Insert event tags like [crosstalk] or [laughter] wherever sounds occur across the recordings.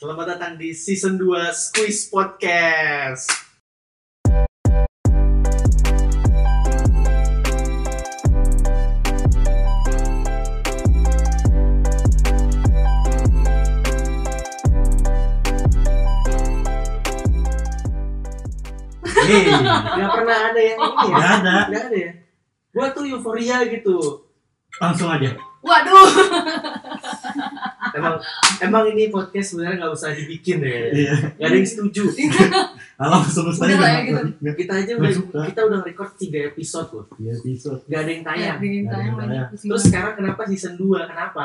Selamat datang di season 2 Squeeze Podcast. Hei, Gak pernah ada yang ini ya? nggak ada. Gak ada ya? Gua tuh euforia gitu. Langsung aja. Waduh. Emang emang ini podcast sebenarnya nggak usah dibikin ya. Iya. Gak ada yang setuju. Alam semesta Udah lah ya, gitu. Nggak Kita aja Nggak udah suka. kita udah record 3 episode loh. Iya bisa. Gak ada yang Ya, tayang. bikin tayang Ada yang lagi. tayang. Pusing Terus banget. sekarang kenapa season 2? Kenapa?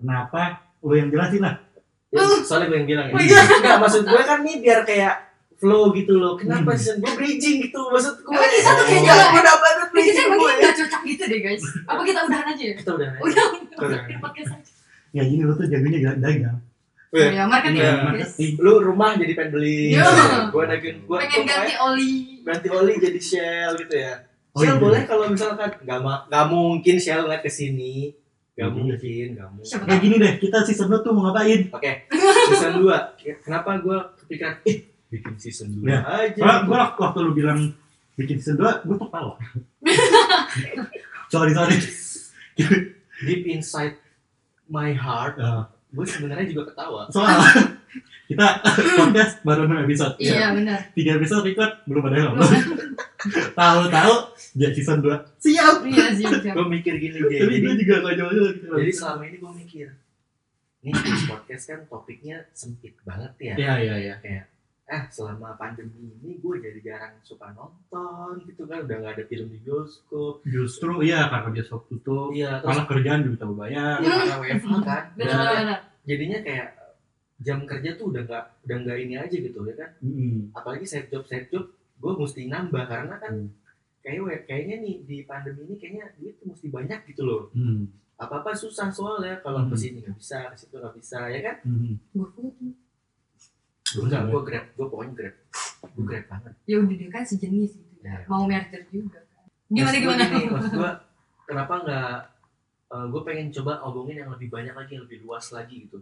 Kenapa? Lu yang jelasin lah. Ya, Uh. soalnya gue yang bilang ya. Oh, iya. Nggak, maksud gue kan nih biar kayak flow gitu loh. Kenapa Hmm. season gue bridging gitu? Maksud gue. Emang kita tuh kayak Nggak, jalan. gue udah banget Bikin bridging saya gue. begini nggak cocok gitu deh guys. Apa kita udahan aja ya? Kita udah. Udah. Udah. Bikin podcast aja. Ya gini lu tuh jagonya gak dagang. Weh, Ya marketing. Iya, guys. marketing. Lu rumah jadi pengen beli. Iya. Gue nagin gue. Pengen ganti oli. ganti oli jadi Shell gitu ya. Oh, Shell iya. boleh kalau misalkan nggak ma- nggak mungkin Shell ngeliat ke sini. Nggak Iya. mungkin, nggak mungkin. Siapa Ya tahu? gini deh, kita season lu tuh mau ngapain? [laughs] Oke, season 2. Kenapa gue kepikiran, eh, bikin season 2 Ya. aja. Gua, Iya. gua waktu- waktu lu bilang bikin season 2, gua [laughs] tertawa. sorry, sorry. Deep inside my heart, Eh, gue sebenarnya juga ketawa. [laughs] soal kita podcast baru 6 episode. Iya benar. 3 episode record belum ada yang upload. Tahu-tahu dia season 2. Siap. [laughs] Iya sih. benar. Gue mikir gini, Jay. Tapi jadi, gua juga gak jauh-jauh. gitu. jadi selama ini gue mikir, nih podcast kan topiknya sempit banget ya. Iya, iya, iya. eh selama pandemi ini gue jadi jarang suka nonton gitu kan udah nggak ada film di bioskop Justru iya karena bioskop tutup, iya terus malah kerjaan juga tambah banyak. ya, karena WFH kan Benar Udah- benar. jadinya kayak jam kerja tuh udah nggak udah nggak ini aja gitu ya kan Mm-mm. apalagi side job side job gue mesti nambah karena kan Hmm. kayak we- kayaknya nih di pandemi ini kayaknya duit tuh mesti banyak gitu loh Mm. apa apa susah soalnya kalau Hmm. kesini nggak bisa kesitu nggak bisa ya kan Mm. enggak gue grab gue pokoknya grab gue grab banget Ya udah dia kan sejenis gitu. Iya. Ya. Mau merger juga. kan. Gimana Maksud gua gimana? gini, maksud gua, kenapa nggak gue pengen coba obongin yang lebih banyak lagi yang lebih luas lagi gitu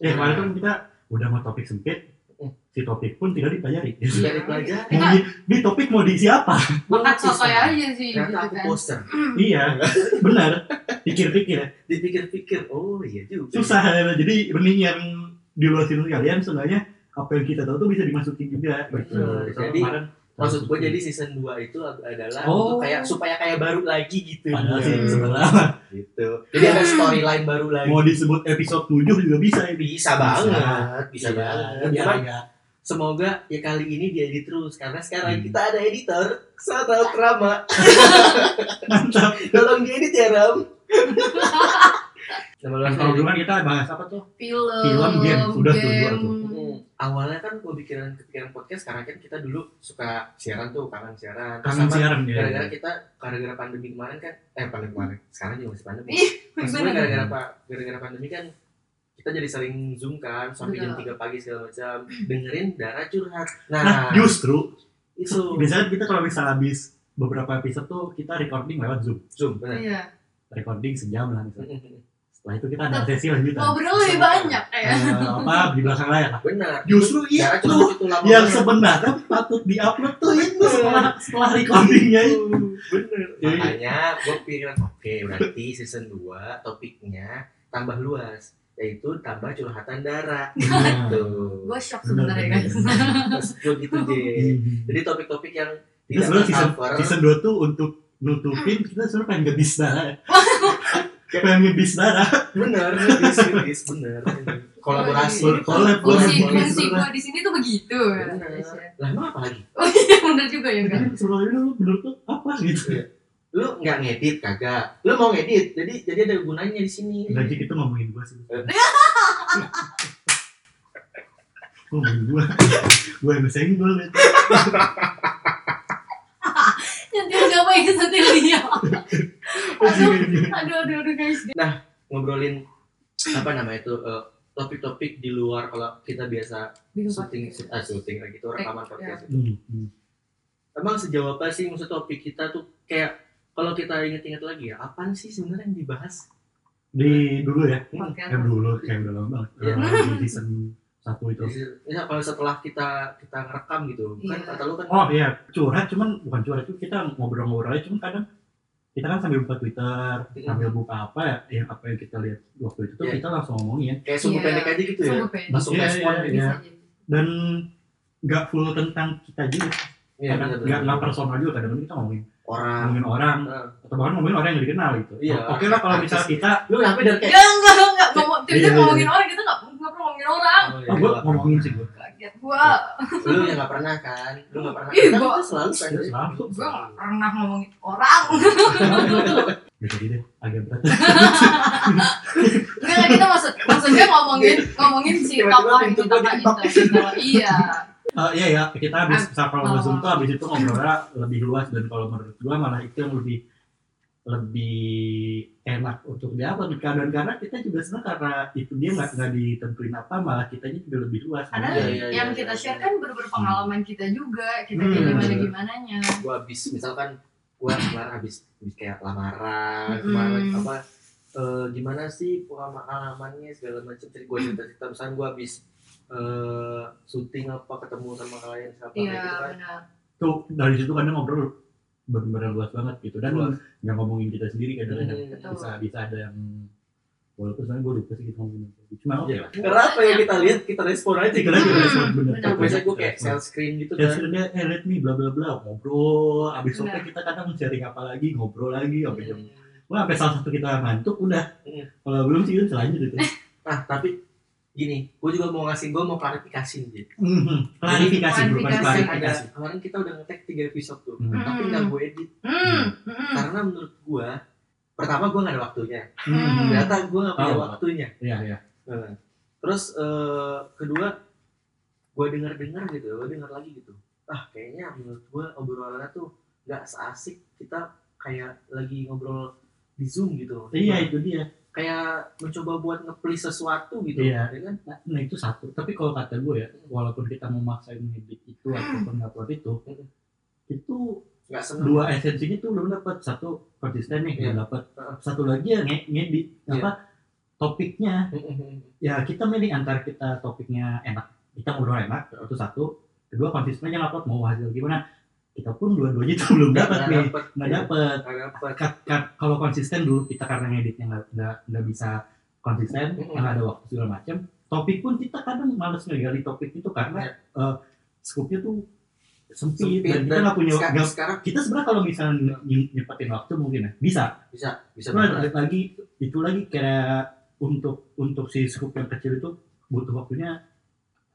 Ya kemarin kan kita udah mau topik sempit, Mm. si topik pun tidak dipelajari. Iya. dari pelajar [laughs] Mau di, di topik mau diisi apa? Makan sotoy aja sih. ternyata gitu aku kan. poster iya, benar. Pikir-pikir ya. dipikir-pikir oh iya juga Susah. Jadi mending yang diluasin sekalian, seenggaknya apa yang kita tahu tuh bisa dimasukin juga. Betul. Gitu. Jadi, Kemarin- maksud gue jadi season 2 itu adalah Oh. untuk kayak supaya kayak baru lagi gitu Padahal sih Hmm. sebenarnya gitu jadi ada storyline baru lagi mau disebut episode 7 juga bisa ya. bisa banget bisa Iya, banget biar Cuman, agak- semoga ya kali ini dia edit terus karena sekarang Hmm. kita ada editor Sata Prama Mantap. tolong diedit ya [laughs] Ram Nama lu Nah, apa? kalau dulu kan kita bahas apa tuh? Film. Film, game. Sudah tuh, dua game. tuh. Hmm, awalnya kan kepikiran kepikiran podcast karena kan kita dulu suka siaran tuh kangen siaran Terus Kangen sama siaran ya. gara-gara kita gara-gara pandemi kemarin kan eh pandemi kemarin sekarang juga masih pandemi Ih, Maksud gue Iya, bener. gara-gara pak gara-gara pandemi kan kita jadi sering zoom kan sampai jam 3 pagi segala macam dengerin darah curhat nah, Nah, justru itu biasanya kita kalau misalnya habis beberapa episode tuh kita recording lewat Zoom. zoom benar Iya. Recording sejam lah misalnya. Setelah itu kita ada sesi lanjutan. Ngobrol lebih banyak ya. Eh, apa di belakang layar lah. benar Justru darah itu curhat itu lama yang sebenarnya patut diupload tuh itu setelah setelah recordingnya [laughs] itu. bener Jadi- makanya gue pikiran oke berarti season 2 topiknya tambah luas yaitu tambah curhatan darah Nah. gitu Gue shock sebenarnya guys. Maksud gue gitu deh Jadi jadi topik-topik yang Iya. kita tidak sebenarnya season, tercover season 2 tuh untuk nutupin kita sebenarnya pengen ngebis darah. ya. pengen ngebis darah. bener serius, serius, bener kolaborasi Ini Collab, Fungsi collab, collab. fungsi gue di sini tuh begitu. Bener. lah emang apa lagi Oh iya [laughs] bener juga ya kan. Jadi sebelum itu lu menurut lu apa gitu? lu nggak ngedit kagak lu mau ngedit jadi jadi ada gunanya di sini Gaji kita ngomongin gua sih. Eh. [laughs] ngomongin gua. Gua yang senggol gitu. Nyentil gak baik nyentil dia. Oh, Aduh, iya, aduh, aduh, aduh guys. ngobrolin apa nama itu eh, topik-topik di luar kalau kita biasa Bingung syuting banget. ah, syuting lagi itu rekaman podcast Ya. itu. Hmm, hmm. emang sejauh apa sih maksud topik kita tuh kayak kalau kita inget-inget lagi ya apaan sih sebenarnya yang dibahas Hmm. Di dulu ya, Podcast. kayak dulu, kayak udah lama banget. Iya. Eh, Di season satu itu Jadi, ya, kalau setelah kita kita ngerekam gitu kan Iya. kata lu kan oh iya curhat cuman bukan curhat itu kita ngobrol-ngobrol aja cuman kadang kita kan sambil buka Twitter Iya. sambil buka apa ya yang apa yang kita lihat waktu itu tuh Iya. kita langsung ngomongin kayak sumbu Iya. pendek aja gitu ya Sumbu pendek. langsung Iya, respon iya, gitu iya. Bisa jadi. dan nggak full tentang kita juga Iya, kadang bener-bener. nggak nggak personal juga kadang kita ngomongin orang ngomongin orang Heeh. atau bahkan ngomongin orang yang dikenal gitu Iya. oke lah kalau misalnya kita lu kenapa dari kayak Enggak, enggak, enggak. Ngomong, Iya, tiba-tiba iya. ngomongin orang, kita enggak enggak pernah ngomongin orang. Iya, oh, gue ngomongin sih gue Kaget gua. lu yang nggak pernah kan lu nggak pernah Ih, kan gua- itu selalu kan Terus lah Gua enggak pernah ngomongin orang. bisa jadi deh agak berat [laughs] Enggak, kita maksud maksudnya ngomongin ngomongin si Tiba-tiba tokoh pintu itu gua tokoh diketok. itu. Iya. Eh, iya ya, kita Kan habis misal kalau Oh. Zoom tuh habis itu [laughs] ngobrolnya lebih luas dan kalau menurut gua malah itu yang lebih lebih enak untuk diapa keadaan karena kita juga sebenarnya karena itu dia nggak nggak ditentuin apa malah kitanya juga lebih luas. Karena Iya, iya, yang iya, kita iya. share kan bener-bener pengalaman kita juga. Kita Hmm. kayak gimana gimananya. gue habis misalkan gue kemarin habis habis kayak lamaran Mm-mm. kemarin apa eh, gimana sih pengalamannya segala macam cerita gue cerita cerita misalnya gue habis eh, syuting apa ketemu sama klien siapa Iya, gitu kan benar. Tuh dari situ kadang ngobrol benar-benar luas banget gitu dan Luas. nggak ngomongin kita sendiri kadang Hmm. Betul. bisa bisa ada yang walaupun sebenarnya gue lupa sih kita ngomongin apa. cuma oke lah. karena apa yang kita lihat kita respon aja Kita gitu lagi Hmm. respon bener. Benar. biasanya gue kayak Respon. share screen gitu Ya kan sebenarnya eh let me bla bla bla ngobrol abis Benar. sampai kita kadang sharing apa lagi ngobrol lagi sampai jam Hmm. wah sampai salah satu kita lantuk udah Iya. kalau belum sih itu lanjut itu nah tapi gini gue juga mau ngasih gue mau klarifikasi nih Mhm. klarifikasi bukan Klarifikasi. klarifikasi ada kemarin kita udah ngetek tiga episode tuh Hmm. tapi nggak gue edit Hmm. hmm, karena menurut gue pertama gue nggak ada waktunya Mhm. Hmm. ternyata gue nggak punya Oh. waktunya iya iya Nah, terus eh, kedua gue denger dengar gitu gue denger lagi gitu ah kayaknya menurut gue obrolannya tuh nggak seasik kita kayak lagi ngobrol di zoom gitu iya itu dia kayak mencoba buat nge-please sesuatu gitu Iya. ya kan nah, nah, itu satu tapi kalau kata gue ya walaupun kita memaksain ngedit itu ataupun ngupload itu Mhm. itu nggak seneng dua esensinya tuh belum dapat satu konsisten nih belum dapat Heeh. satu lagi ya nge- ngedit Iya. apa topiknya Mm-mm. ya kita milih antara kita topiknya enak kita ngobrol enak itu satu kedua konsistennya upload mau hasil gimana kita pun dua-duanya itu belum nggak Iya. dapat nih dapet nggak dapet nggak dapet Ka- ka- kalau konsisten dulu kita karena ngeditnya nggak nggak nggak bisa konsisten Mm-mm. nggak ada waktu segala macam topik pun kita kadang males ngegali topik itu karena eh, scope-nya tuh sempit, sempit dan kita nggak punya sekarang, nggak- sekarang kita sebenarnya kalau misalnya ny- nyepetin waktu mungkin ya bisa bisa bisa Cuma banget. balik lagi itu lagi kayak untuk untuk si scoop yang kecil itu butuh waktunya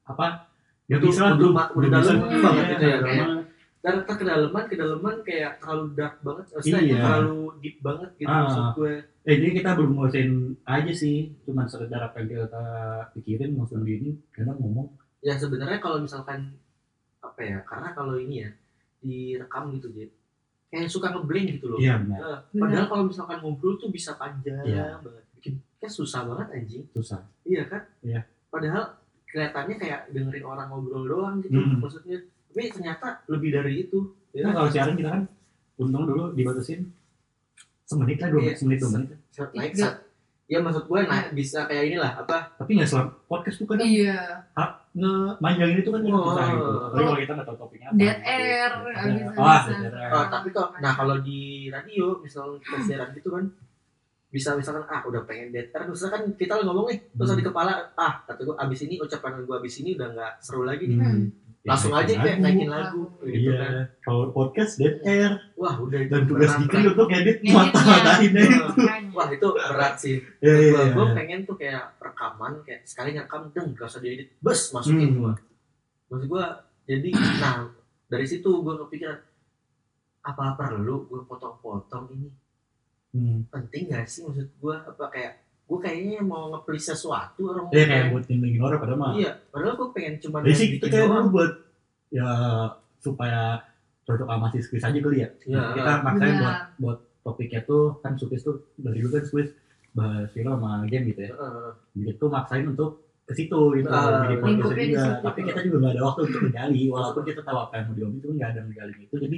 apa? Ya Itu bisa lah, udah belum ma- udah belum bisa dalam banget Iya, gitu ya, karena dan ntar kedalaman kedalaman kayak terlalu dark banget maksudnya Iya. terlalu deep banget gitu Ah. maksud gue eh jadi kita belum ngurusin aja sih cuma sekedar apa yang kita pikirin maksud ini kadang ngomong ya sebenarnya kalau misalkan apa ya karena kalau ini ya direkam gitu jadi kayak suka ngeblank gitu loh iya benar Eh, padahal kalau misalkan ngobrol tuh bisa panjang Iya. banget bikin kan susah banget anjing susah iya kan Iya. padahal kelihatannya kayak dengerin orang ngobrol doang gitu Mm. maksudnya tapi ternyata lebih dari itu Iya Nah, kalau siaran kita kan untung dulu dibatasin semenit lah dua Iya. menit dua menit Sa- naik Iya. sa- ya maksud gue naik bisa kayak inilah apa tapi nggak selama podcast tuh kan Iya. ngemanjangin itu kan Oh. susah gitu apalagi kalau kita nggak tahu topiknya apa Dead gitu. air, Ada- bisa- wah bisa. dead air. Oh, tapi kok nah kalau di radio misalnya kita siaran gitu kan bisa misalkan ah udah pengen dead air misalkan kan kita ngomong nih terus Hmm. di kepala ah kata gue abis ini ucapan gue abis ini udah nggak seru lagi nih Hmm. gitu. langsung aja kayak naikin lagu Lagu. gitu iya kan Iya. kalau podcast dead air wah udah itu dan tugas berat, Dikri untuk edit Ngeditnya. mata-matain ya berat. wah itu berat sih [laughs] Iya, iya, gue iya. pengen tuh kayak rekaman kayak sekali ngerekam deng gak usah diedit bes masukin Hmm. gua maksud gue jadi nah dari situ gue kepikiran apa perlu gue potong-potong ini Hmm. penting gak sih maksud gue apa kayak gue kayaknya mau nge-please sesuatu orang Iya, kayak buat nyenengin orang pada mah iya padahal gue pengen cuma jadi sih kita bikin kayak doang. dulu buat ya supaya cocok sama si Swiss aja kali ya Iya. kita maksain Iya. buat buat topiknya tuh kan Swiss tuh dari dulu kan Swiss bahas film sama game gitu ya Heeh. jadi tuh maksain untuk ke situ gitu Ah, jadi bener. podcast Lingkupnya di juga situ. tapi kita juga nggak ada waktu untuk menggali walaupun kita tahu apa yang mau diomongin itu nggak ada menggali itu jadi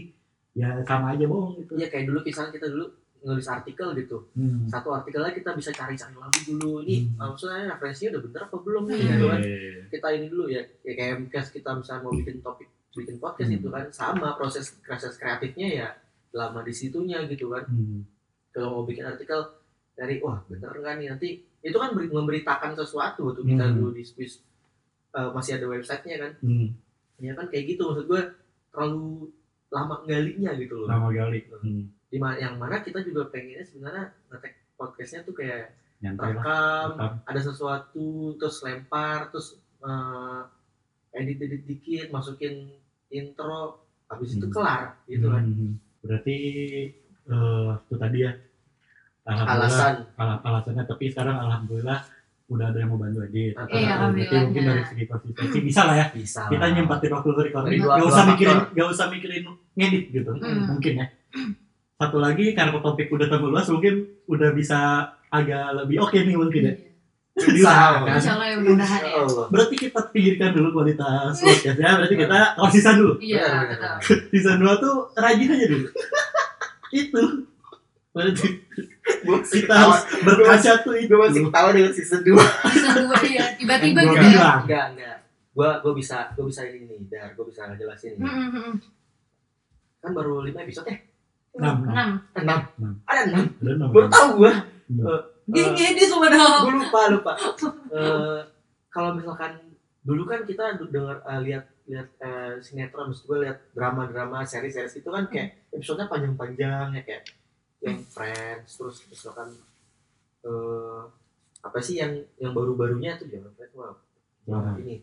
ya sama aja bohong gitu iya kayak dulu kisahnya kita dulu nulis artikel gitu Hmm. satu artikelnya kita bisa cari-cari lagu dulu ini Hmm. uh, maksudnya referensinya udah bener apa belum nih Hmm. gitu kan Iya. kita ini dulu ya, ya kayak MCAS kita misalnya mau bikin topik bikin podcast Hmm. itu kan sama proses proses kreatifnya ya lama di situnya gitu kan Hmm. kalau mau bikin artikel dari wah bener nggak nih nanti itu kan beri- memberitakan sesuatu tuh kita Hmm. dulu di Swiss eh, masih ada websitenya kan Hmm. ya kan kayak gitu maksud gue terlalu lama galinya gitu loh Lama kali. Hmm. di ma- yang mana kita juga pengennya sebenarnya ngetek podcastnya tuh kayak Nyantai lah. rekam Rekam. ada sesuatu terus lempar terus eh, edit edit dikit masukin intro habis itu Hmm. kelar gitu kan Hmm. Berarti eh, itu tadi ya. Alhamdulillah. alasan ala- alasannya tapi sekarang alhamdulillah udah ada yang mau bantu edit. Iya, Berarti alhamdulillahnya. mungkin dari segi konsistensi bisa lah ya. bisa Kita lah. nyempatin waktu recording. Dari dua- Gak dua usah faktor. mikirin, gak usah mikirin ngedit gitu. Hmm. Mungkin ya. Satu lagi karena topik udah tambah luas mungkin udah bisa agak lebih oke nih mungkin ya. Bisa. kan? Insya Allah ya Insya mudah-mudahan ya. Allah. Berarti kita pinggirkan dulu kualitas podcast ya. Berarti kita [laughs] oh season dulu. Iya, Benar, benar, betul. benar. Season 2 tuh rajin aja dulu. itu. Berarti [laughs] Gua masih kita ketawa- harus berkaca tuh itu. gua masih ketawa dengan season 2 Bisa dua ya, tiba-tiba Yang gua gitu ya. bilang. enggak enggak gua gua bisa gua bisa ini nih dar gua bisa jelasin Hmm, ini hmm, hmm. kan baru 5 episode ya Enam, enam. Enam. enam Enam. ada enam Bener nggak, baru Bang? tahu gua Dia ngedit loh padahal. gue lupa lupa Eh, kalau misalkan dulu kan kita du- denger eh, lihat lihat eh, sinetron maksud gue lihat drama drama series series itu kan kayak episodenya panjang-panjang ya kayak yang Friends terus misalkan eh apa sih yang yang baru-barunya tuh jangan Friends wow. Drama. ini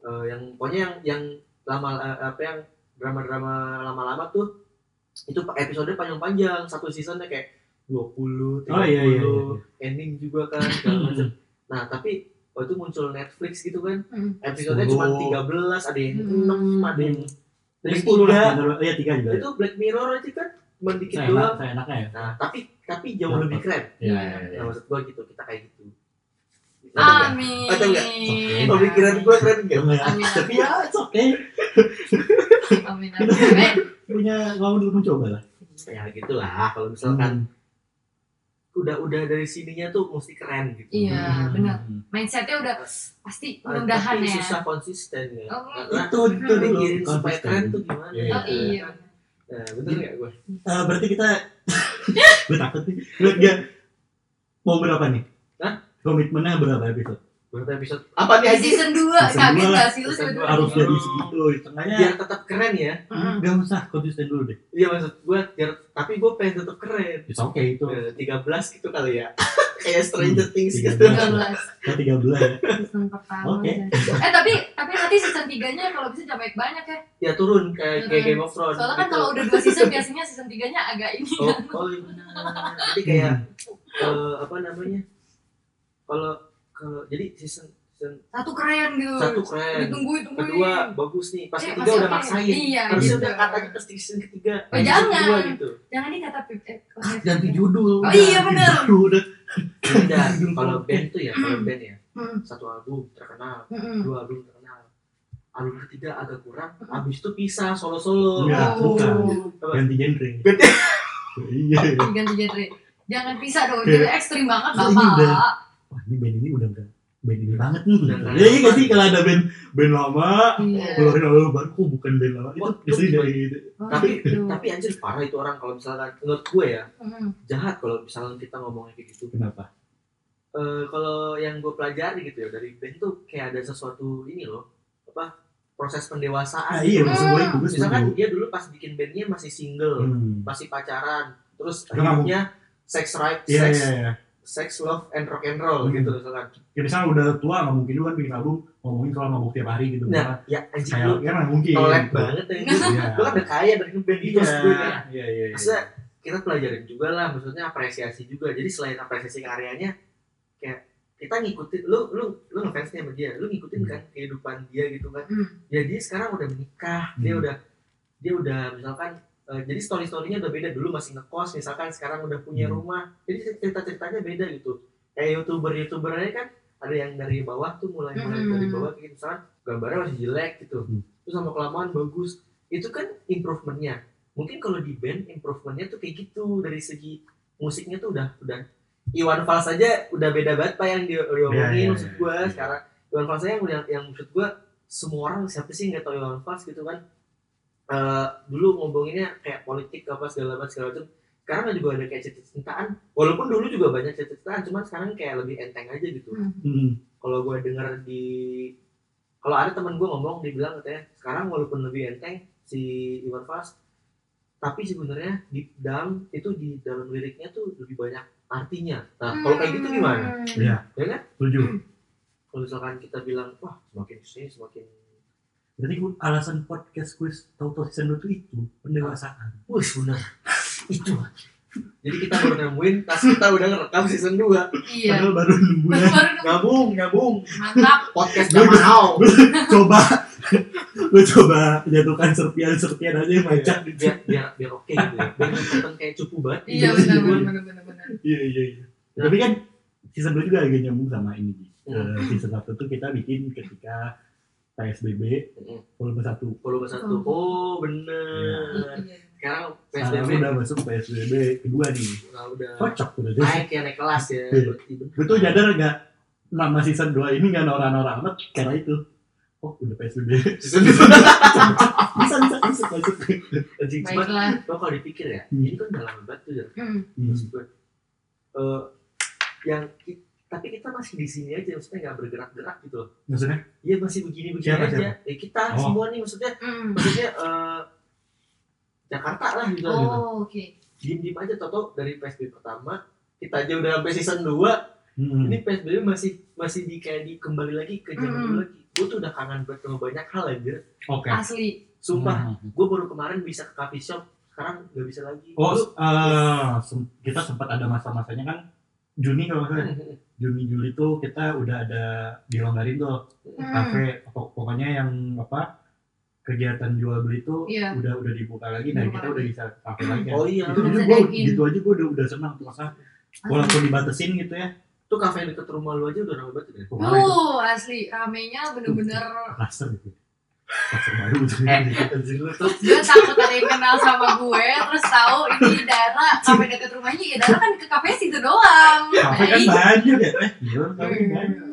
Eh, yang pokoknya yang yang lama eh, apa yang drama-drama lama-lama tuh itu episode panjang-panjang satu seasonnya kayak 20, 30, Oh iya iya. iya. ending juga kan [laughs] segala macam. Nah tapi waktu itu muncul Netflix gitu kan Hmm. episode-nya Sepuluh. cuma 13 ada yang 6 Hmm. ada yang Dari Dari sepuluh lah. tiga. bener. Iya tiga juga. itu Black Mirror aja kan cuma dikit Saya enak, doang saya enaknya ya. nah tapi tapi jauh Dapat. lebih keren Iya iya iya. nah, maksud gua gitu kita kayak gitu Ngerti Ah, Amin. Atau enggak? Oke. [laughs] iya. nggak? pemikiran gua keren gak? Iya. Amin. Tapi ya it's okay. Amin. Amin. Eh, Amin. Punya mau dulu mencoba lah. ya gitulah kalau kan? misalkan udah udah dari sininya tuh mesti keren gitu Hmm. Iya, Hmm. benar. Mindsetnya udah pasti mudah-mudahan tapi ya. susah konsisten ya Oh, karena Itu itu tuh dulu mikirin supaya konsisten. keren tuh gimana Iya. Oh iya. nah, bener nggak gue Eh, berarti kita [laughs] gue takut nih. Gue dia mau berapa nih? Hah? Komitmennya berapa episode? berapa episode apa nih Aziz Season 2 Season kaget dua lah. gak sih lu Season season dua Harus dulu. dari segitu. Di Tengahnya biar tetap keren ya Mm-mm. Gak usah konsisten dulu deh. iya maksud gue biar tapi gue pengen tetap keren It's okay itu. tiga belas gitu kali ya [laughs] kayak Hmm, Stranger Things gitu 13. 13 Kita tiga bulan. ya. season pertama. Oke. Eh tapi tapi nanti season 3-nya kalau bisa jamaik banyak ya. ya turun kayak kayak Game Mm-mm. of Thrones Soalnya kan gitu. kalau udah dua season biasanya season 3-nya agak ini [laughs] oh, kan. oh iya benar. jadi [laughs] kayak Hmm. eh, apa namanya kalau kalau jadi season season Satu keren gitu. satu keren Ditungguin, tungguin. kedua bagus nih pas Eh, ketiga masih udah oke. maksain Iya, harusnya gitu. udah katanya ke season ketiga Oh, season jangan. kedua gitu Jangan dikata pip. Ah, eh, Ganti judul. Oh, iya, bener. Baru udah. [laughs] beda kalau band tuh ya kalau band ya Hmm. satu album terkenal Mm-mm. dua album terkenal album ketiga agak kurang abis itu pisah solo solo Iya. Hmm. Oh. bukan. Ganti genre. Ganti. [laughs] Iya. Ganti genre. Jangan pisah dong. Iya. Jadi ekstrim banget Iya, Bapak. udah. Wah ini band ini udah gak band ini banget nih. Udah Gitu. nggak Ya iya nggak sih nyaman. kalau ada band band lama Iya. keluarin lalu baru kok bukan band lama itu Wah, biasanya itu dari Oh, tapi gitu. tapi anjir parah itu orang kalau misalkan menurut gue ya Mm. jahat kalau misalkan kita ngomongnya kayak gitu kenapa? Eh, kalau yang gue pelajari gitu ya dari band tuh kayak ada sesuatu ini loh apa proses pendewasaan gitu. Ah iya maksud gue itu gue setuju. misalkan dia dulu pas bikin bandnya masih single Hmm. masih pacaran terus Nggak mau. hidupnya sex right Iya sex iya iya. sex love and rock and roll Hmm. gitu misalkan Ya misalnya udah tua nggak mungkin lu kan bikin album ngomongin soal mabuk tiap hari gitu. Nah, nah ya anjing kayak lu ya nggak mungkin. Tolek banget ya gitu. Iya. Lu kan udah kaya dari ngeband gitu Iya. maksud gue kan. Iya iya. iya. Maksudnya kita pelajarin juga lah maksudnya apresiasi juga. Jadi selain apresiasi karyanya kayak kita ngikutin lu lu lu ngefansnya sama dia, lu ngikutin Hmm. kan kehidupan dia gitu kan. Mm. Jadi sekarang udah menikah, dia Hmm. udah dia udah misalkan eh, jadi story storynya udah beda dulu masih ngekos misalkan sekarang udah punya Hmm. rumah. Jadi cerita ceritanya beda gitu. Kayak youtuber youtubernya kan ada yang dari bawah tuh mulai mulai dari Hmm. bawah kayak misalkan gambarnya masih jelek gitu Hmm. terus sama kelamaan bagus itu kan improvementnya mungkin kalau di band improvementnya tuh kayak gitu dari segi musiknya tuh udah udah Iwan Fals aja udah beda banget pak yang dia diomongin iya, maksud gue iya. sekarang Iwan Fals aja yang udah yang maksud gue semua orang siapa sih nggak tahu Iwan Fals gitu kan Eh, dulu ngomonginnya kayak politik apa segala macam segala macam sekarang kan juga ada kayak cerita-ceritaan walaupun dulu juga banyak cerita-ceritaan cuman sekarang kayak lebih enteng aja gitu Hmm. kalau gue dengar di kalau ada teman gue ngomong dia bilang katanya sekarang walaupun lebih enteng si Iwan Fals tapi sebenarnya di dalam itu di dalam liriknya tuh lebih banyak artinya nah kalau kayak gitu gimana Hmm. Iya. Setuju. kalau misalkan kita bilang wah semakin sini semakin Berarti gua- alasan podcast quiz Toto season 2 itu itu pendewasaan. wah benar itu jadi kita baru nemuin tas kita udah ngerekam season 2 Iya. [laughs] Padahal baru ya. 6 bulan. Baru gabung gabung mantap. podcast zaman now coba [laughs] lu coba jatuhkan serpian-serpian aja yang biar macam biar biar, biar oke gitu ya biar nggak kelihatan kayak cupu banget Iya benar benar benar benar. Iya iya iya. Tapi kan season 2 juga agak nyambung sama ini. Ji. Eh, season 1 tuh kita bikin ketika PSBB Mm. volume 1. Volume satu oh bener Iya. sekarang Sekarang PSBB udah masuk PSBB kedua nih. nah, udah Cocok tuh udah. naik ya naik kelas ya Iya. berarti bener. Gue tuh nyadar gak nama season 2 ini gak norak-norak amat karena itu. Oh udah [laughs] PSBB. Season dua. Bisa bisa masuk masuk. Anjing, cuman Baiklah. lo kalau dipikir ya Iya. Hmm. ini kan udah lama banget tuh ya Hmm. Hmm. maksud gue. Eh, yang ki- tapi kita masih di sini aja maksudnya nggak bergerak-gerak gitu loh Maksudnya? iya masih begini-begini Siapa, aja siapa? Ya, kita Oh. semua nih maksudnya Hmm. maksudnya eh, Jakarta lah gitu Oh oke. diem-diem aja toto dari PSBB pertama kita aja udah sampai season 2 Hmm. ini PSBB masih masih di kayak di kembali lagi ke zaman Mm. dulu lagi gue tuh udah kangen banget sama banyak hal aja Oke. Nah. Asli. sumpah Hmm. gue baru kemarin bisa ke coffee shop sekarang gak bisa lagi Oh, Lu- eh, sem- kita sempat ada masa-masanya kan Juni kalau nggak salah. Juni Juli tuh kita udah ada dilonggarin tuh Hmm. kafe pokok- pokoknya yang apa kegiatan jual beli tuh Iya. udah udah dibuka lagi dan Dibuka kita lagi. udah bisa kafe lagi kan. oh iya itu Bisa juga gua dine-in. gitu aja gua udah udah senang tuh masa walaupun dibatesin gitu ya tuh kafe yang deket rumah lu aja udah ramai banget ya kemarin itu Duh, Mm. asli ramenya bener-bener klaster gitu klaster baru gitu anjir lu tuh gue takut ada yang kenal sama gue terus tahu ini Dara sampai dekat rumahnya ya Dara kan ke kafe situ doang Iya. kafe kan Baik. banyak ya eh gila kafe banyak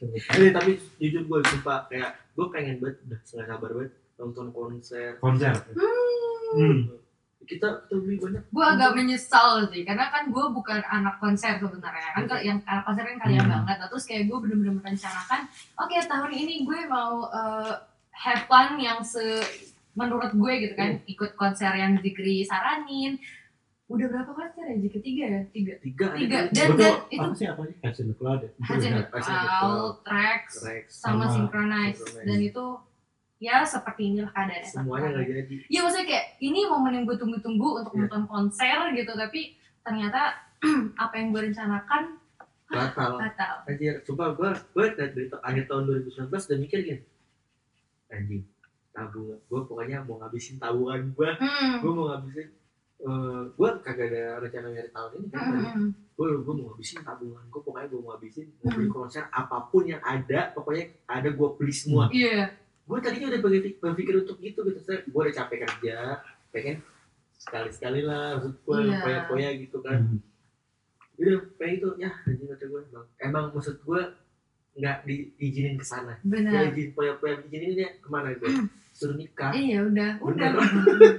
Hmm. Eh, tapi jujur gue sumpah kayak gue pengen banget udah nggak sabar banget nonton konser konser hmm. kita kita beli banyak gue agak menyesal sih karena kan gue bukan anak konser sebenarnya kan kalau yang anak konser kan kaya Hmm. banget nah, terus kayak gue bener-bener merencanakan oke tahun ini gue mau eh, have fun yang se menurut gue gitu kan Hmm. ikut konser yang Zikri saranin udah berapa konser ya Zikri tiga ya tiga tiga ada tiga kan? dan Gua tuh dan itu apa sih apa sih Catch in the Cloud ya Itu Hearts in udah- the Cloud, Tracks, Rex sama, sama Synchronize. Synchronize. Dan itu ya seperti inilah keadaannya. semuanya nggak sekarang. jadi Ya maksudnya kayak ini momen yang gue tunggu-tunggu untuk Iya. nonton konser gitu. Tapi ternyata [clears throat] apa yang gue rencanakan batal batal. anjir coba gue gue dari, dari ta- akhir tahun 2019 udah mikir gini anjing tabungan gue pokoknya mau ngabisin tabungan gue Hmm. gue mau ngabisin eh gue kagak ada rencana nyari tahun ini kan Hmm. gue gue mau ngabisin tabungan gue pokoknya gue mau ngabisin Hmm. mau beli konser apapun yang ada pokoknya ada gue beli semua Hmm. Iya. gue tadinya udah berpikir, berpikir untuk gitu gitu saya gue udah capek kerja pengen sekali sekali lah maksud gue Iya. yeah. poya poya gitu kan Hmm. udah pengen itu ya anjing kata gue emang emang maksud gue nggak diizinin ke sana Iya. ya Benar. izin poya poya izinin ya kemana gue Hmm. suruh nikah Iya udah. Udah. Bener.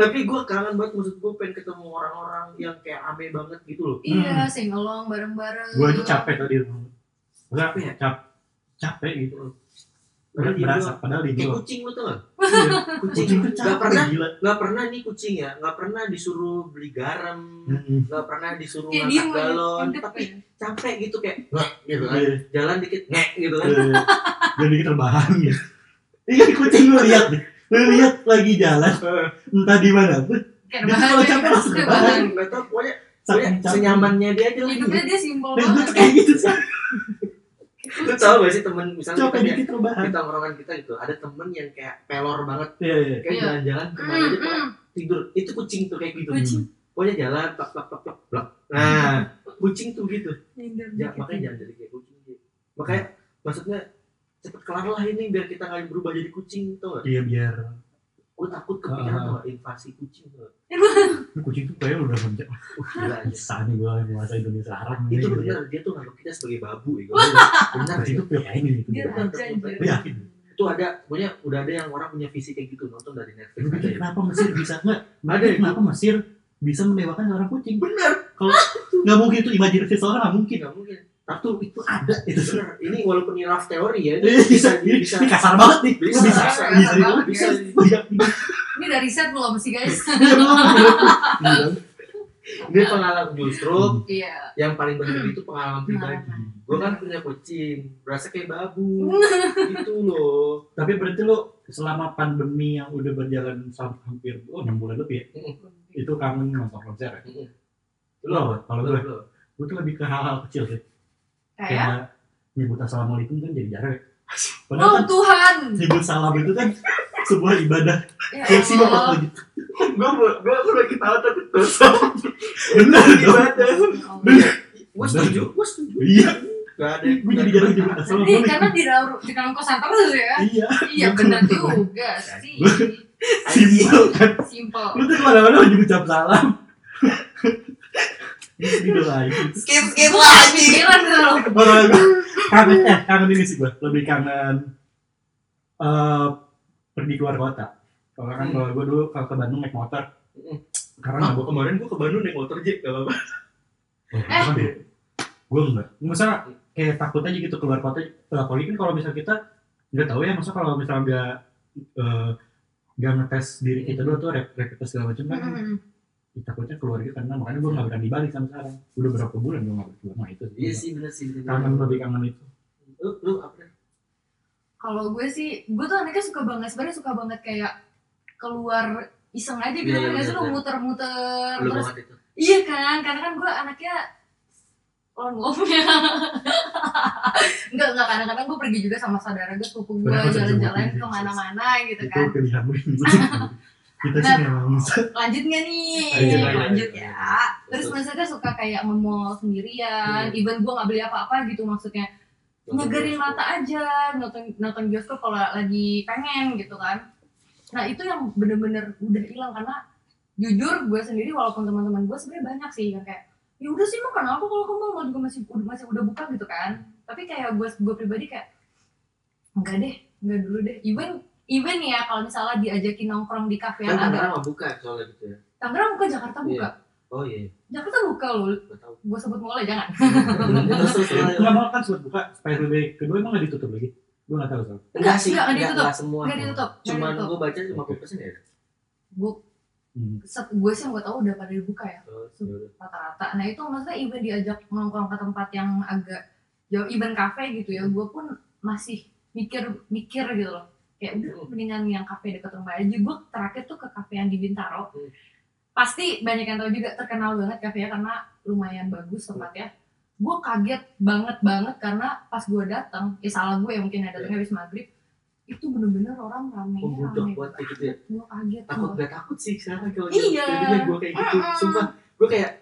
tapi gue kangen banget maksud gue pengen ketemu orang-orang yang kayak ame banget gitu loh iya sing along bareng-bareng. gue aja capek tadi enggak Capek ya? cap capek gitu Padahal Ber- di berasa Iya. padahal di kayak [laughs] gua kucing lu tuh gak? kucing kucing tuh nggak pernah capek gila nggak pernah nih kucing ya nggak pernah disuruh beli garam Mm-mm. nggak pernah disuruh Kayak ngangkat diem aja, galon ngedep tapi ya. capek gitu kayak ngek gitu kan Iya, jalan dikit ngek gitu kan iya. jadi kita terbahan gitu iya kucing lu lihat nih. lu lihat lagi jalan entah di mana tuh Kayak Dia tuh bahan kalau aja, capek langsung kayak rebahan. bahan. nggak tau pokoknya saking pokoknya capek. senyamannya dia aja lah. Hidupnya dia simpel Nah, gua tuh banget. kayak gitu Sa. lu tau gak sih temen misalnya capek kita kayak dikit terbahan kita nongkrongan kita gitu ada temen yang kayak pelor banget iya iya kayak Iya. jalan-jalan kemana Hmm, aja pokoknya hmm. tidur itu kucing tuh kayak gitu Kucing. pokoknya jalan plak plak plak plak plak nah kucing tuh gitu Minder ya, dikit. makanya jangan jadi kayak kucing gitu. makanya maksudnya cepet kelar lah ini biar kita nggak berubah jadi kucing tau gak iya biar gue takut kepikiran Ah. sama invasi kucing tuh kucing tuh kayaknya udah menjadi uh, gila [laughs] aja bisa nih gue bahasa Indonesia Arab nih, itu gitu ya. benar dia tuh nganggap kita sebagai babu ya benar iya. kucing itu tuh kayak ini gitu Dia ya. raja anjir. Lu yakin? itu ada pokoknya udah ada yang orang punya visi kayak gitu nonton dari Netflix Lu aja pikir ya. kenapa Mesir bisa nggak Ada ada itu. kenapa Mesir bisa mendewakan seorang kucing benar nggak mungkin itu imajinasi seorang nggak mungkin nggak mungkin tapi itu ada itu benar ini walaupun ini rough teori ya [laughs] ini Ini bisa ini- bisa ini kasar banget nih bisa Lu bisa bisa bisa bisa, banget, bisa. Ini dari riset belum sih guys? ini pengalaman justru Iya. yang paling berharga itu pengalaman pribadi Pengalaman. gue kan punya kucing berasa kayak babu gitu loh tapi berarti lo selama pandemi yang udah berjalan sam- hampir oh enam bulan lebih ya itu kangen nonton konser ya lo lo apa? kalau gue lo gue tuh lebih ke hal-hal kecil sih Kayak, "Oh, kayak nyebut assalamualaikum kan jadi jarang ya padahal oh kan Tuhan. nyebut salam itu kan sebuah ibadah Ya fungsi banget Allah. lagi gue gue gue lagi tahu tapi [laughs] terus bener dong Ya Allah. gue setuju gue setuju iya gak ada yang gue jadi jarang nyebut Nanti Iya, karena assalamualaikum di dalam di dalam kosan terus ya. iya Iya benar juga sih. simpel kan lu Simple. tuh kemana-mana lagi ucap salam Iya. Gitu ini doain skip skip lagi Pikiran tuh. Orang gue kangen eh kangen ini sih gue lebih kangen eh pergi keluar kota. Kalau kan Hmm. kalau gue dulu kalau ke Bandung naik motor Hmm. karena Nah, nggak gue kemarin gue ke Bandung naik motor jet gak apa-apa eh. gue enggak. Misalnya kayak takut aja gitu keluar kota. Apalagi kan kalau misalnya kita nggak tahu ya masa kalau misalnya nggak eh, nggak ngetes diri kita dulu tuh rap- rapid test segala macam kan Hmm. Mm-mm. takutnya keluar gitu karena makanya gue nggak berani balik sama sekarang udah berapa bulan gue nggak balik nah itu iya sih bener sih bener kangen lebih kangen itu lu lu apa Kalau gue sih, gue tuh anaknya suka banget sebenarnya suka banget kayak keluar iseng aja gitu Iya, kan iya, nggak sih bener, lo muter-muter lu terus banget itu iya kan karena kan gue anaknya lone wolf ya nggak nggak kadang-kadang gue pergi juga sama saudara gue sepupu gue Kenapa saya jalan-jalan sebutin? kemana-mana gitu itu kan pilihan lu [laughs] yang Ah. penting. kita sih Nah. memang lanjut nggak nih Lanjut, lanjut, lanjut lanjut. ya terus Betul. maksudnya suka kayak nge-mall sendirian Hmm. even gue nggak beli apa-apa gitu maksudnya nyegerin mata aja nonton nonton bioskop kalau lagi pengen gitu kan nah itu yang bener-bener udah hilang karena jujur gue sendiri walaupun teman-teman gue sebenarnya banyak sih yang kayak ya udah sih mau kenapa kalau ke mall Mall juga masih udah masih udah buka gitu kan tapi kayak gue gue pribadi kayak enggak deh enggak dulu deh even even ya kalau misalnya diajakin nongkrong di kafe kan yang ada Tangerang nggak buka soalnya gitu ya Tangerang buka Jakarta buka Iya. oh iya Jakarta buka loh gak tau gue sebut mall jangan terus terus terus. nggak mau kan surat buka PSBB kedua emang nggak ditutup lagi gue nggak tahu soalnya enggak sih enggak Enggak, enggak ditutup. enggak semua enggak ditutup enggak cuman ditutup gue baca 50% ya gue hmm. gue sih yang gue tahu udah pada dibuka ya Oh, ya udah. rata-rata. Nah itu maksudnya even diajak nongkrong ke tempat yang agak jauh, even kafe gitu ya, gue pun masih mikir-mikir gitu loh. Kayak udah mendingan yang kafe dekat rumah aja. Gue terakhir tuh ke kafe yang di Bintaro. Hmm. Pasti banyak yang tahu juga terkenal banget kafenya karena lumayan bagus tempatnya. Gue kaget banget banget karena pas gue datang, ya salah gue yang mungkin ya datangnya habis maghrib, itu bener-bener orang rame Iya. Oh, rame budak buat kayak gitu ya. gue kaget Takut loh. gak takut sih sekarang kalau Iya. ah. Jadinya gue kayak gitu. Mm-mm. Sumpah, gue kayak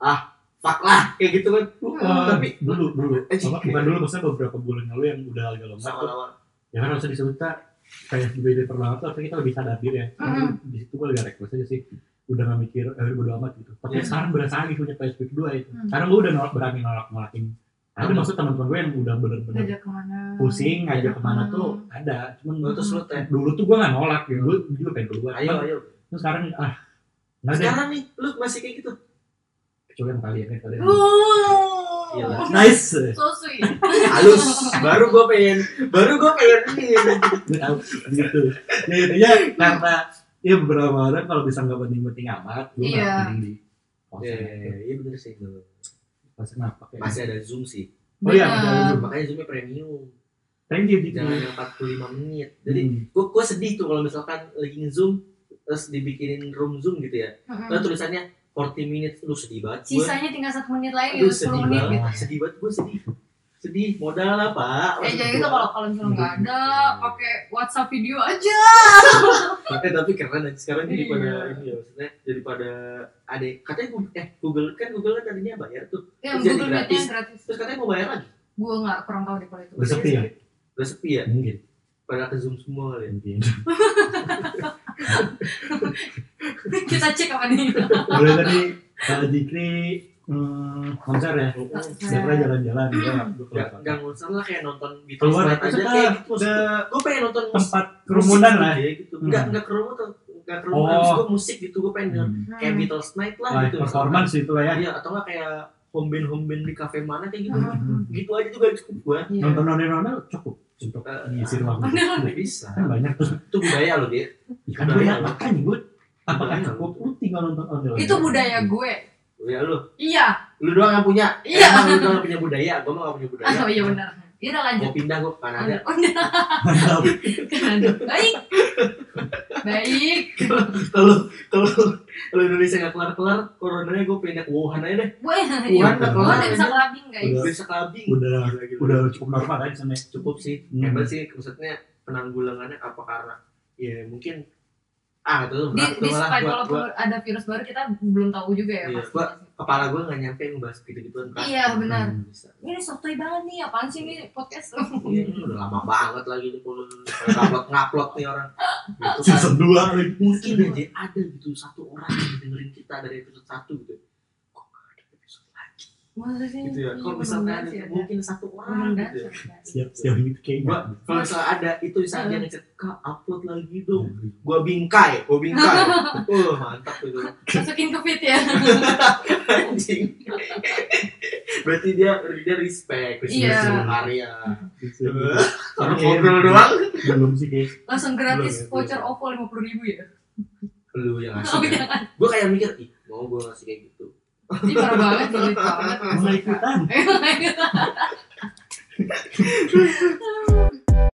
ah, fuck lah kayak gitu kan. Hmm. Tapi- dulu dulu Eh, apa, jika- bukan dulu maksudnya beberapa bulan lalu yang udah agak longgar tuh Seolah-olah ya kan harusnya disebut kita PSBB pertama tuh tapi kita lebih sadar diri ya karena di situ gue agak request aja sih udah nggak mikir eh udah bodo amat gitu tapi Iya. Mm. sekarang berasa lagi punya PSBB kedua itu Hmm. karena gue udah nolak berani nolak nolakin ada maksud teman-teman gue yang udah bener-bener Ngajak kemana? pusing Mm. ngajak kemana Hmm. tuh ada cuman Lalu gue tuh terus lu teh. Eh, dulu tuh gue nggak nolak gitu gue juga pengen keluar Ayo, ayo. Terus sekarang ah nggak ada Sekarang nih, lu masih kayak gitu. kecuali yang kalian yang kalian. Wuh. Iya. Nice. So sweet. Halus. [laughs] [laughs] baru gue pengen, baru gue pengen ini. Gue tahu gitu. Ya intinya karena ya beberapa orang kalau bisa nggak penting-penting amat, gue nggak Iya. penting di [laughs] Iya, konser. iya, iya bener sih. bener. Pas kenapa? kayak- gitu. Masih ada Zoom sih. Oh iya, Bener. ada Zoom. Makanya Zoomnya premium. Thank you Hmm, gitu. Jangan yang 45 menit. Jadi Jadi gue gue sedih tuh kalau misalkan lagi nge-zoom terus dibikinin room zoom gitu ya. Mm-mm. Lalu tulisannya 40 minutes lu sedih banget. Gue Sisanya tinggal satu menit lagi, Aduh, gitu, sepuluh sedih menit banget. gitu. Sedih banget gue sedih. Sedih modal lah, Pak. Eh jadi itu kalau kalau misalnya nggak ada, pakai WhatsApp video aja. Eh, tapi keren aja sekarang jadi Iya. pada ini ya maksudnya jadi pada ada katanya Google, eh Google kan Google kan tadinya bayar tuh. Yang Jadi Google Meet-nya gratis. gratis. Terus katanya mau bayar lagi. Gue nggak kurang tahu deh kalau itu. Udah sepi ya? Oh, Udah sepi ya? Mungkin. Pada ke Zoom semua kali ya. Mungkin. kita cek apa nih Boleh tadi kalau Jikri hmm, konser ya. Nggak pernah jalan-jalan. Gue nggak gue Gak, keluar kota. gak ngusah lah kayak nonton Beatles iya. Keluar ya? Band itu aja kayak gitu. ke Gue pengen nonton musik- tempat kerumunan musik lah. gitu ya, gitu. Hmm. Gak, gak kerumunan, tuh. gak kerumunan. Oh. Abis gue musik gitu, gue pengen denger Hmm. [laughs] kayak Beatles Night lah Live gitu. performance itu lah ya. Iya, atau nggak kayak home band home band di kafe mana kayak gitu. Hmm. Gitu aja juga cukup gue. Iya. Nonton ondel-ondel cukup untuk Eh, ngisi ruang. Gak bisa. Kan banyak tuh. Itu budaya loh dia. Ikan Budaya banyak lu. makan gue. Budaya Apakah lu. cukup? Lu tinggal nonton ondel. itu budaya gue Ya lu, iya lu doang yang punya. Iya. Emang lu doang yang punya budaya, gue mah gak punya budaya. oh iya benar Iya udah lanjut Mau pindah gue ke Kanada. Oh, udah Mantap. baik baik Kalau kalau kalau Indonesia nggak kelar kelar, coronanya gue pindah ke Wuhan aja deh. gue Wuhan nggak nggak gue kelar. iya. udah bisa kelabing guys Udah. Bisa kelabing. [laughs] Udah Gila, gila. udah cukup normal aja sana. cukup sih. Hmm. Hebat sih maksudnya penanggulangannya apa karena ya mungkin ah itu di, berat di tuh lah spike gua, walaupun gua- ada virus baru kita belum tahu juga ya Iya, pasti. gua- kepala gue nggak nyampe ngebahas gitu gituan kan. Iya, benar. Hmm, bisa. ini sotoy banget nih apaan sih ini podcast [laughs] Iya, ini udah lama banget lagi nih kalau ngupload ngupload nih orang. Gitu kan. Season 2 lagi. mungkin aja ada gitu satu orang yang dengerin kita dari episode satu gitu. Kok nggak ada episode lagi? maksudnya Gitu ya. Iya, Kalau misalnya ada mungkin satu Ah, orang gitu. ya. Siap siap ini kayaknya. Gua- Kalau misalnya ada itu saatnya ngecek kak upload lagi dong. Hmm. Gua bingkai, gua [laughs] bingkai. Uh mantap itu. masukin ke feed ya Anjing. Berarti dia berarti dia respect, respect Iya. sama Iya. karya. Siap. Orang ngobrol doang. Belum sih guys. langsung gratis Belum, belum. voucher OVO lima puluh ribu ya Lu yang oh ngasih. ya. jangan Gua kayak mikir, ih mau gua ngasih kayak gitu. ini parah banget sulit banget [laughs] Mulai ikutan. Emang